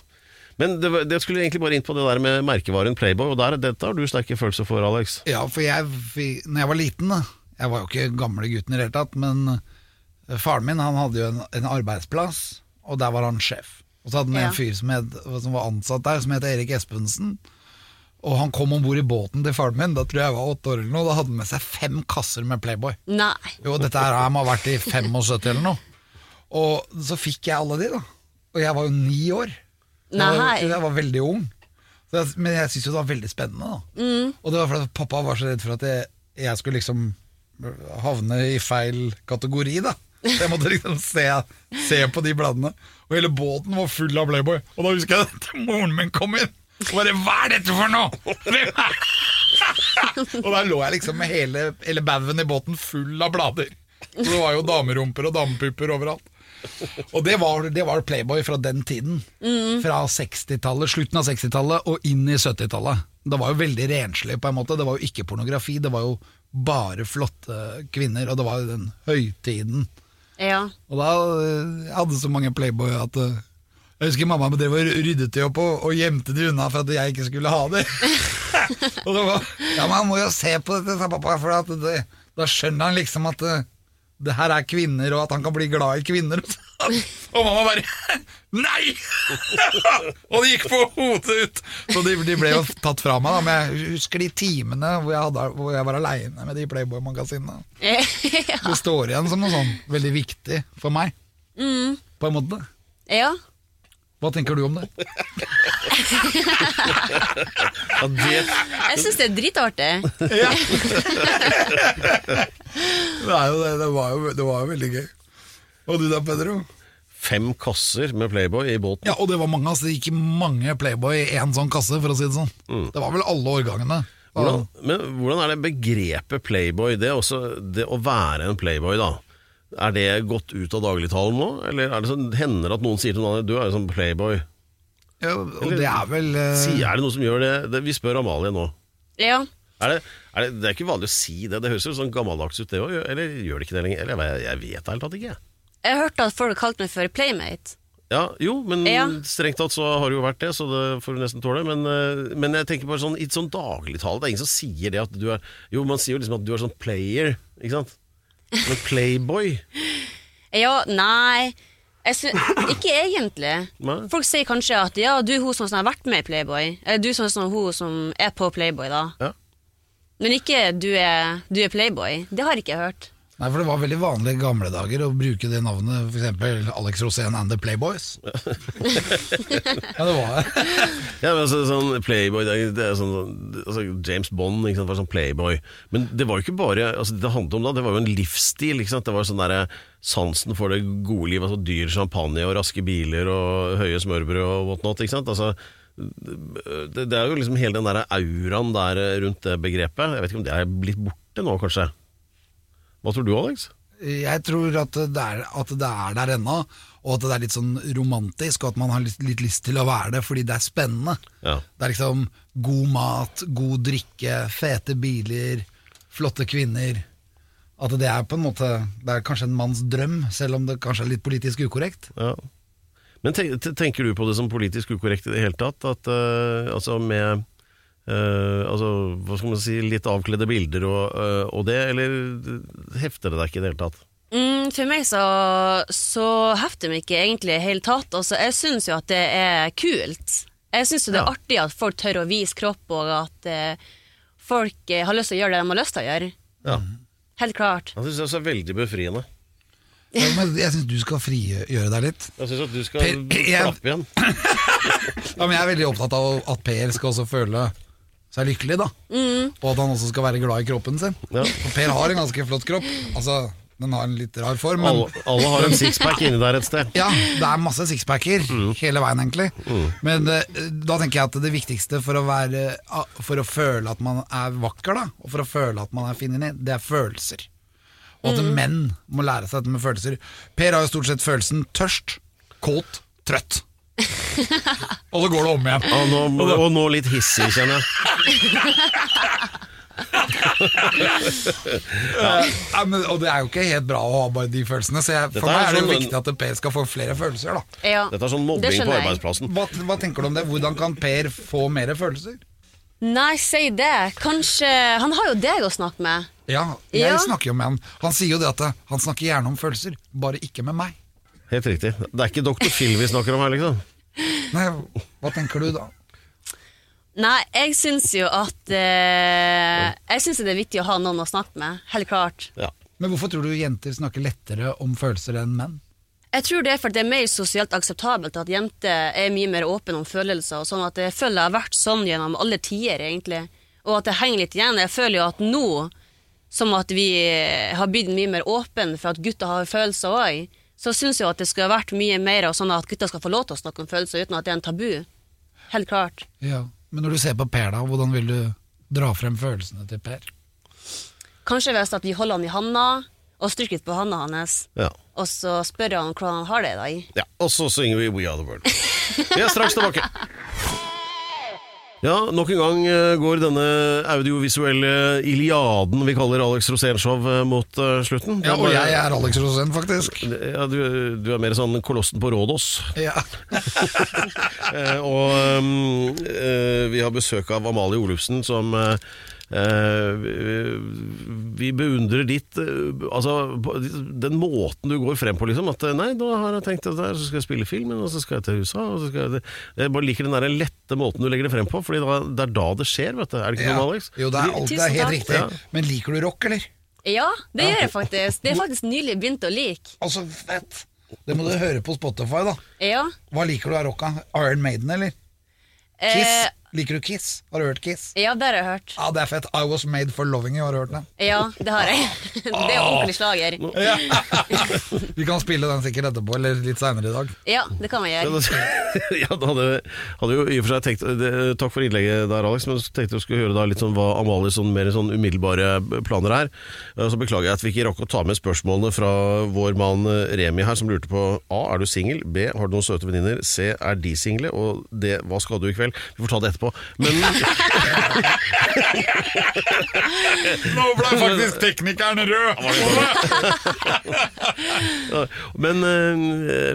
Men det, var- det skulle egentlig bare inn på det der med merkevaren Playboy, og der, dette har du sterke følelser for, Alex.
Ja, for jeg, fi- når jeg var liten da, Jeg var jo ikke gamle gutten i det hele tatt Men eh, faren min han hadde jo en, en arbeidsplass Og der var han sjef Og så hadde han
Ja.
en fyr som, het, som var ansatt der Som het Erik Espensen Og han kom ombord i båten til faren min Da tror jeg jeg var åtte år eller noe Da hadde han med seg fem kasser med Playboy
Nei.
Jo, dette her har jeg vært i 75 eller noe Og så fikk jeg alle de da Og jeg var jo ni år jeg var,
Nei.
jeg var veldig ung. Så jeg, men jeg syntes jo det var veldig spennende. Da. Og det var fordi at pappa var så redd for at jeg, jeg skulle liksom havne i feil kategori, da. Så jeg måtte liksom se, se på de bladene. Og hele båten var full av Playboy. Og da husker jeg at moren min kom inn og bare 'Hva er dette for noe?' Hvem er det?» og da lå jeg liksom med hele, hele baugen i båten full av blader. Og det var jo damerumper og damepupper overalt. Og det var, det var Playboy fra den tiden. Fra 60-tallet, slutten av 60-tallet og inn i 70-tallet. Det var jo veldig renslig, på en måte. Det var jo ikke pornografi. Det var jo bare flotte kvinner, og det var jo den høytiden.
Ja.
Og da eh, jeg hadde så mange Playboy at eh, Jeg husker mamma drev og ryddet de opp og, og gjemte de unna for at jeg ikke skulle ha de. og det var Ja, man må jo se på dette, sa pappa, for at det, da skjønner han liksom at eh, det her er kvinner, og at han kan bli glad i kvinner. og mamma bare Nei! og det gikk på hodet ut. Så de, de ble jo tatt fra meg, da. Men jeg husker de timene hvor jeg, hadde, hvor jeg var aleine med de Playboy-magasinene.
ja.
Det står igjen som noe sånn veldig viktig for meg. På en måte.
ja.
Hva tenker du om det?
Ja, det,
Jeg syns det er dritartig.
Det, er jo det, det, var jo, det var jo veldig gøy. Og du da, Pedro?
fem kasser med Playboy i båten.
Ja, og det var mange. Altså, det gikk mange Playboy i én sånn kasse, for å si det sånn. Det var vel alle årgangene.
Hvordan, men hvordan er det begrepet Playboy? Det er også det å være en Playboy, da. Er det gått ut av dagligtalen nå, eller er det sånn, hender det at noen sier til noen andre du er jo sånn Playboy?
Ja, og det er vel eh,
Si, er det noen som gjør det? det vi spør Amalie nå.
Ja.
Er det, er det, det er ikke vanlig å si det. Det høres jo sånn gammeldags ut, det òg. Eller gjør det ikke det lenger? Eller jeg vet- jeg vet helt tatt ikke.
Jeg hørte at folk kalte meg for Playmate.
Ja, jo, men
Ja.
strengt tatt så har det jo vært det, så det får du nesten tåle. Men, eh, men jeg tenker bare sånn i et sånn dagligtale Det er ingen som sier det at du er Jo, man sier jo liksom at du er sånn player, ikke sant? Men playboy
Ja, nei jeg sy Ikke egentlig.
Nei.
Folk sier kanskje at ja, du er hun som har vært med i Playboy. Eller du som er sånn, hun som er på Playboy, da.
Ja.
Men ikke du er, du er Playboy. Det har ikke jeg hørt.
Nei, for Det var veldig vanlig i gamle dager å bruke det navnet f.eks. Alex Rosén and The Playboys. ja, det var det.
Ja, men altså, sånn Playboy det er, det er sånn, altså, James Bond ikke sant, var sånn playboy. Men det var jo ikke bare altså, Det handlet om da, det var jo en livsstil. Ikke sant? Det var sånn der, Sansen for det gode liv. Altså, dyr champagne og raske biler og høye smørbrød og whatnot. Ikke sant? Altså, det, det er jo liksom hele den der auraen der rundt det begrepet. Jeg vet ikke om det er blitt borte nå, kanskje. Hva tror du, Alex?
Jeg tror at det, er, at det er der ennå, og at det er litt sånn romantisk, og at man har litt, litt lyst til å være det fordi det er spennende.
Ja.
Det er liksom god mat, god drikke, fete biler, flotte kvinner. At det er på en måte Det er kanskje en manns drøm, selv om det kanskje er litt politisk ukorrekt.
Ja. Men ten- te- tenker du på det som politisk ukorrekt i det hele tatt? At eh, altså med eh, altså, hva skal man si, litt avkledde bilder og, eh, og det, eller hefter det deg ikke i det hele tatt?
Mm, for meg så, så hefter meg ikke egentlig i hele tatt. Altså, jeg syns jo at det er kult. Jeg syns det er
Ja.
artig at folk tør å vise kropp, og at eh, folk eh, har lyst til å gjøre det de har lyst til å gjøre.
Ja.
Helt klart.
Jeg syns det er veldig befriende.
Ja, men jeg syns du skal frigjøre deg litt.
Jeg syns at du skal
Per- jeg-
slappe igjen.
Ja, men Jeg er veldig opptatt av at Per skal også føle seg lykkelig, da. Og at han også skal være glad i kroppen sin.
Ja.
Og Per har en ganske flott kropp. Altså, Den har en litt rar form, men
Alle, alle har en sixpack inni der et sted.
ja, det er masse sixpacker
Mm.
hele veien, egentlig. Men eh, da tenker jeg at det viktigste for å, være, for å føle at man er vakker, da, og for å føle at man er fin inni, det er følelser. Og at menn må lære seg dette med følelser. Per har jo stort sett følelsen tørst, kåt, trøtt. og så går det om igjen.
Og nå, og nå litt hissig, kjenner jeg.
Nei, men, og det er jo ikke helt bra å ha bare de følelsene, så jeg, for
Dette er
meg er det
sånn en-
viktig at Per skal få flere følelser. da
Ja.
Dette er sånn
Det
mobbing på
skjønner jeg.
arbeidsplassen.
hva, hva tenker du om det? Hvordan kan Per få mer følelser?
Nei, si det. Kanskje Han har jo deg å snakke med.
Ja, jeg
Ja.
snakker jo med han. Han sier jo det at eh, han snakker gjerne om følelser, bare ikke med meg.
Helt riktig. Det er ikke Dr. Phil vi snakker om her, liksom.
Nei, hva tenker du da?
Nei, jeg syns jo at eh, Jeg syns det er viktig å ha noen å snakke med. Helt klart.
Ja.
Men hvorfor tror du jenter snakker lettere om følelser enn menn?
Jeg tror det er fordi det er mer sosialt akseptabelt at jenter er mye mer åpne om følelser. og sånn at Jeg føler jeg har vært sånn gjennom alle tider, egentlig. Og at det henger litt igjen. Jeg føler jo at nå, som at vi har blitt mye mer åpne for at gutter har følelser òg, så syns jeg at det skulle ha vært mye mer av sånn at gutter skal få lov til å snakke om følelser uten at det er en tabu. Helt klart.
Ja, Men når du ser på Per, da, hvordan vil du dra frem følelsene til Per?
Kanskje hvis at vi holder han i handa og styrker litt på handa hans,
Ja.
og så spør han hvordan han har det i dag.
Ja, og så synger vi We Are The World. Vi er straks tilbake. Ja, nok en gang eh, går denne audiovisuelle iliaden vi kaller Alex Rosénshow eh, mot eh, slutten. Det er
Ja, Og
bare-
jeg er Alex Rosén, faktisk.
Ja, du, du er mer sånn kolossen på Rådås.
Ja.
Eh, og ehm, eh, vi har besøk av Amalie Olufsen, som eh, eh, vi- Vi beundrer ditt eh, Altså, på- den måten du går frem på, liksom. At eh, nei, nå har jeg tenkt dette her, så skal jeg spille filmen, og så skal jeg til USA og så skal jeg, til- Jeg bare liker den der lette måten du legger det frem på, Fordi da, det er da det skjer, vet du. Er det ikke
Ja.
sånn, Alex?
Jo, det er, alt, det er helt
Tusen
riktig.
takk.
Men liker du rock, eller?
Ja, det gjør jeg faktisk. Det er faktisk nylig begynt å like.
Altså, fett! Det må du høre på Spotify, da.
Ja.
Hva liker du av rocka? Iron Maiden, eller? Kiss?
Eh,
Liker du Kiss? Har du hørt Kiss?
ja, det har jeg hørt.
Ja, det er fett. I Was Made For Loving You, har du hørt den?
Ja, det har jeg. Det
Ah.
er ordentlig slager.
Vi kan spille den sikkert etterpå, eller litt seinere i dag.
Ja, det kan jeg
Ja,
gjøre.
da- ja, da hadde, hadde jo i og for seg tenkt det, Takk for innlegget der, Alex, men så tenkte jeg skulle høre da litt sånn hva Amalies sånn, mer sånn umiddelbare planer er. Eh, Så beklager jeg at vi ikke rakk å ta med spørsmålene fra vår mann eh, Remi her, som lurte på A. Er du singel? B. Har du noen søte venninner? C. Er de single? Og D. Hva skal du i kveld? Vi får ta det etterpå. Men
Nå ble faktisk teknikeren rød!
Men, eh,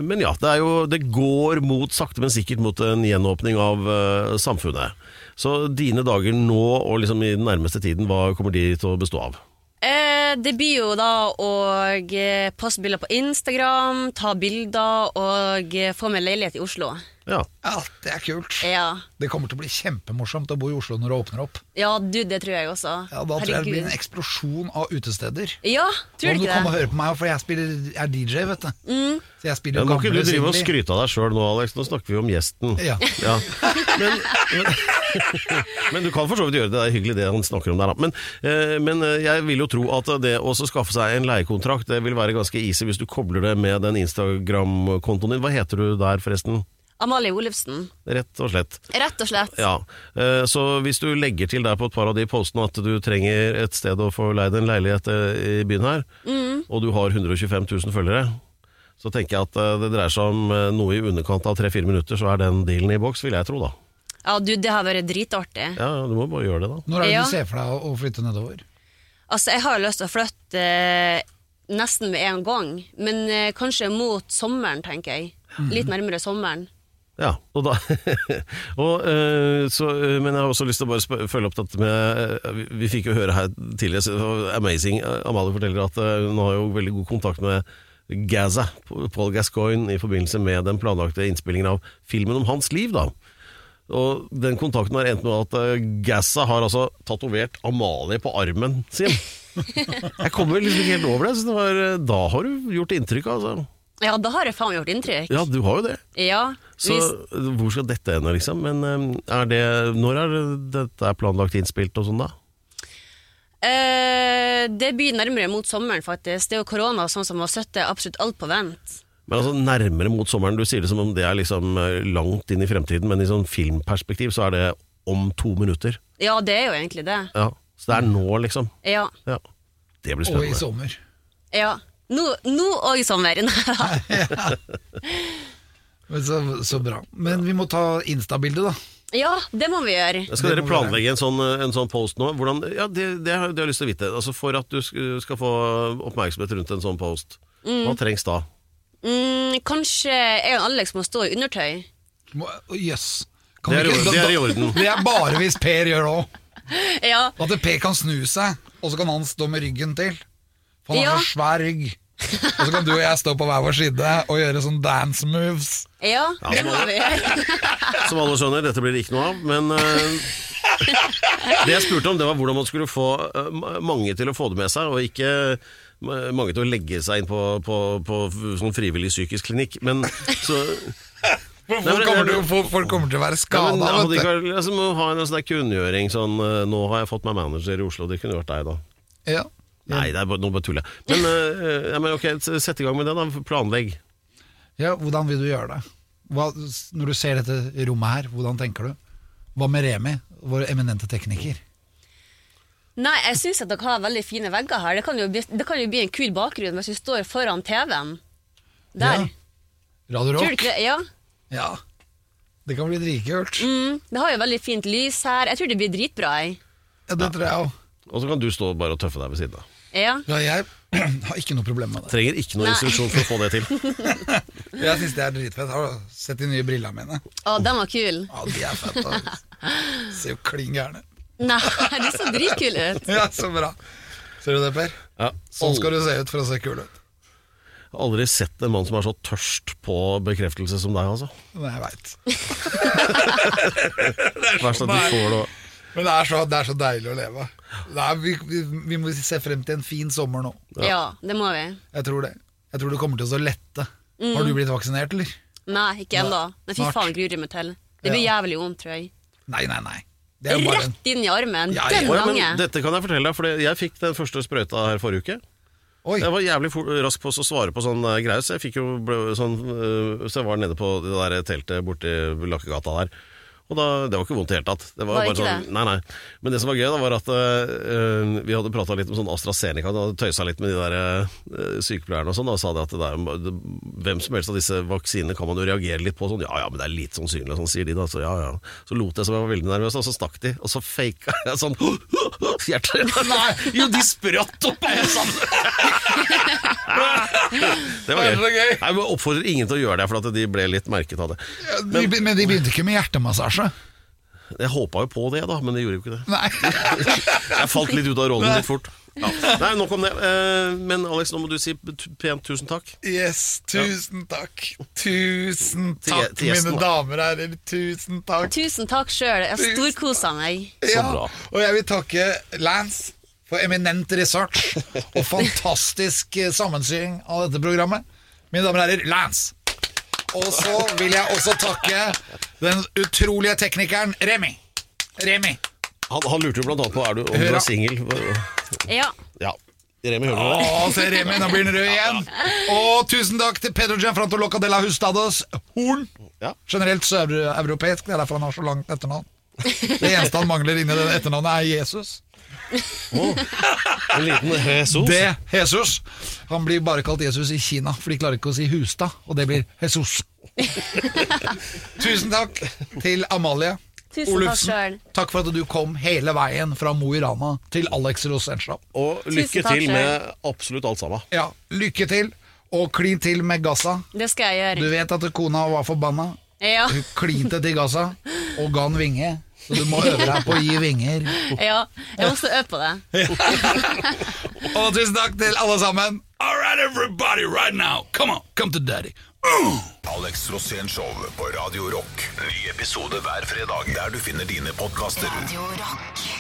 men ja, det, er jo, det går mot, sakte men sikkert mot en gjenåpning av eh, samfunnet. Så dine dager nå og liksom i den nærmeste tiden, hva kommer de til å bestå av?
Eh, eh, det blir jo da å eh, poste bilder på Instagram, ta bilder og eh, få meg leilighet i Oslo.
Ja.
Ja, det er kult.
Ja.
Det kommer til å bli kjempemorsomt å bo i Oslo når det åpner opp.
ja, du, det tror jeg også.
Ja, Da tror jeg det blir en eksplosjon av utesteder.
Ja,
Nå
tror
må du
du ikke
komme og
det? Mm.
høre på meg, for jeg spiller, jeg er DJ, vet du. Så jeg spiller
Ja,
jo
nå kan ikke
gamle
du drive og
singler.
skryte av deg sjøl nå, Alex. Nå snakker vi om gjesten.
Ja.
Men, men, men du kan for så vidt gjøre det. Det er hyggelig det han snakker om der, da. Men, eh, men eh, jeg vil jo tro at det å så skaffe seg en leiekontrakt, det vil være ganske easy hvis du kobler det med den Instagram-kontoen din. Hva heter du der, forresten?
Amalie Olufsen.
Rett og slett.
Rett og slett.
Ja, eh, Så hvis du legger til der på et par av de postene at du trenger et sted å få leid en leilighet eh, i byen her, og du har 125 000 følgere, så tenker jeg at eh, det dreier seg om eh, noe i underkant av 3-4 minutter, så er den dealen i boks, vil jeg tro, da.
Ja, du, det har vært dritartig.
Ja, du må bare gjøre det, da.
Når er det
Ja.
du ser for deg å- å flytte nedover?
Altså, jeg har jo lyst til å flytte eh, nesten med en gang, men eh, kanskje mot sommeren, tenker jeg.
Mm.
Litt nærmere sommeren.
Ja, og da og, eh, så, eh, Men jeg har også lyst til å bare spø- følge opp dette med eh, Vi, vi fikk jo høre her tidligere, så det var amazing. Eh, Amalie forteller at eh, hun har jo veldig god kontakt med Gaza, Paul Gascoigne, i forbindelse med den planlagte innspillingen av filmen om hans liv, da. Og den kontakten har endt med at eh, Gaza har altså tatovert Amalie på armen sin. Jeg kommer liksom ikke helt over det. Så det var, eh, da har du gjort inntrykk, altså.
Ja, da har jeg faen gjort inntrykk.
Ja, du har jo det.
Ja,
Så
hvis,
hvor skal dette ende, liksom? Men eh, er det, når er dette er planlagt innspilt og sånn, da?
eh, det blir nærmere mot sommeren, faktisk. Det er jo korona og sånn som har satt absolutt alt på vent.
Men altså nærmere mot sommeren, du sier det som om det er liksom eh, langt inn i fremtiden, men i sånn filmperspektiv så er det om to minutter.
Ja, det er jo egentlig det.
Ja. Så det er nå, liksom.
Ja.
Ja. Det blir
Og i
spennende.
sommer.
ja. Nå, nå og i sommer.
Men Så, så bra. Men vi må ta Insta-bildet, da.
ja, det må vi gjøre.
Skal
Det
dere
må
planlegge en sånn, en sånn post nå? Hvordan, ja, det, det, har, det har jeg lyst til å vite. Altså For at du sk- skal få oppmerksomhet rundt en sånn post, hva trengs da?
Mm, kanskje jeg og Alex må stå i undertøy.
Må- å, Jøss. Kan
Det er,
vi
i
ikke-
orden- det
da-
er i orden.
Det er bare hvis Per gjør det òg.
Ja,
At Per kan snu seg, og så kan han stå med ryggen til. For han
Ja.
har så svær rygg. Og så kan du og jeg stå på hver vår side og gjøre sånn dance moves.
ja, det må vi gjøre.
Som alle skjønner, dette blir det ikke noe av, men eh, Det jeg spurte om, det var hvordan man skulle få eh, ma- mange til å få det med seg, og ikke ma- mange til å legge seg inn på, på, på f- sånn frivillig psykisk klinikk. Men så
Folk
Nei, men-
kommer til, å- folk, folk kommer til å være
ja, men,
skada,
hadde
vet
ikke
du.
vært- altså, Må ha en sånn der kunngjøring sånn eh, 'Nå har jeg fått meg manager i Oslo', det kunne vært deg, da.
Ja.
Nei, det er bare, nå bare tuller jeg. Men, eh, ja, men ok, s- sett i gang med det, da. Planlegg.
Ja, hvordan vil du gjøre det? Hva, s- når du ser dette rommet her, hvordan tenker du? Hva med Remi, vår eminente tekniker?
Nei, jeg syns dere har veldig fine vegger her. Det kan jo bli, det kan jo bli en kul bakgrunn hvis vi står foran TV-en. Der.
Ja, Radio
Tror du
Rock?
ikke det? Ja.
Ja. Det kan bli dritkult.
Mm, det har jo veldig fint lys her. Jeg tror det blir dritbra. Jeg.
Ja, det tror jeg òg.
Og så kan du stå bare og tøffe deg ved siden av.
Ja.
Ja, jeg har ikke noe problem med det.
Trenger ikke noen
Nei.
instruksjon for å få det til.
Jeg syns det er dritfett. Har du sett de nye brillene mine?
Å, den var kul.
Ja, de er fette. ass. Ser jo klin gærne ut.
Nei, de så dritkule ut.
Ja, så bra. Ser du det, Per?
Ja.
Sånn skal du se ut for å se kul ut.
Jeg har aldri sett en mann som er så tørst på bekreftelse som deg, altså.
Nei, jeg veit.
Verst at du får det og-
Men det er, så, det er så deilig å leve. Det er, vi, vi, vi må se frem til en fin sommer nå.
Ja, det må vi.
Jeg tror det. Jeg tror det kommer til å lette. Har du blitt vaksinert, eller?
Nei, ikke ennå. Men fy
Snart.
faen, gruer jeg meg til. Det blir jævlig vondt, tror jeg.
Nei, nei, nei. Det er bare en
Rett inn i armen.
Ja, ja.
Den
Å, ja,
gangen.
men Dette kan jeg fortelle deg, for det- jeg fikk den første sprøyta her forrige uke.
Oi.
Jeg var jævlig for, rask på å svare på sånn eh, greie, så jeg fikk jo ble, sånn, eh, Så jeg var nede på det der teltet borti Lakkegata der. Og da, Det var ikke vondt i det hele tatt. Det var,
Var
bare
ikke
sånn,
det?
nei, nei. Men det som var gøy, da, var at eh, eh, vi hadde prata litt om sånn AstraZeneca. Da hadde tøysa litt med de der eh, sykepleierne og sånn. Da sa de at det der, det, hvem som helst av disse vaksinene kan man jo reagere litt på. Sånn, ja ja, men det er litt sannsynlig, sånn sier de da. Så ja ja. Så lot jeg som jeg var veldig nervøs, og så stakk de. Og så faka jeg sånn Hjertet Jo, de spratt opp alle sammen! det
Det
var
er så
gøy.
gøy.
Nei, men oppfordrer ingen til å gjøre det, for at de ble litt merket av det.
De be- men de begynte ikke med hjertemassasje.
Jeg håpa jo på det, da, men de gjorde jo ikke det.
Nei.
Jeg falt litt ut av rollen litt fort. Ja. Nei, nok om det. Eh, Men Alex, nå må du si t- pent tusen takk.
Yes, tusen takk. Tusen
Til-
takk,
til gjesten,
mine damer og herrer. Tusen takk.
Tusen takk sjøl. Jeg storkosa meg.
Ja,
bra.
og jeg vil takke Lance for eminent research og fantastisk eh, sammensying av dette programmet. Mine damer og herrer, Lance. Og så vil jeg også takke den utrolige teknikeren Remi. Remi.
Han, han lurte jo blant annet på er du, om du
Høra.
er singel.
Ja.
Ja. Remi, hører du det?
Å, se Remi, nå blir den rød igjen. Og tusen takk til Pedro Gianfranto Loca de la Hustados Horn.
Ja.
Generelt søreuropeisk, det er derfor han har så langt etternavn. Det eneste han mangler inni det etternavnet, er Jesus.
En liten Jesus.
Det Jesus. Han blir bare kalt Jesus i Kina, for de klarer ikke å si Hustad, og det blir Jesus. Tusen takk til Amalie
Tusen takk
Olufsen.
selv.
Takk for at du kom hele veien fra Mo i Rana til Alex Rosenstrand.
Og lykke
Tusen takk,
til med absolutt alt sammen.
Ja, lykke til, og klin til med Gaza.
Det skal jeg
Du
gjøre.
vet at kona var forbanna.
Ja.
Hun klinte til Gaza og ga han vinge. Så du må øve deg på å gi vinger.
ja. Jeg må også øve på det.
Og tusen takk til alle sammen. All right, everybody, right now. Come on, come to daddy.
Alex Rosén Show på Radio Rock. Ny episode hver fredag der du finner dine podkaster.
Radio Rock.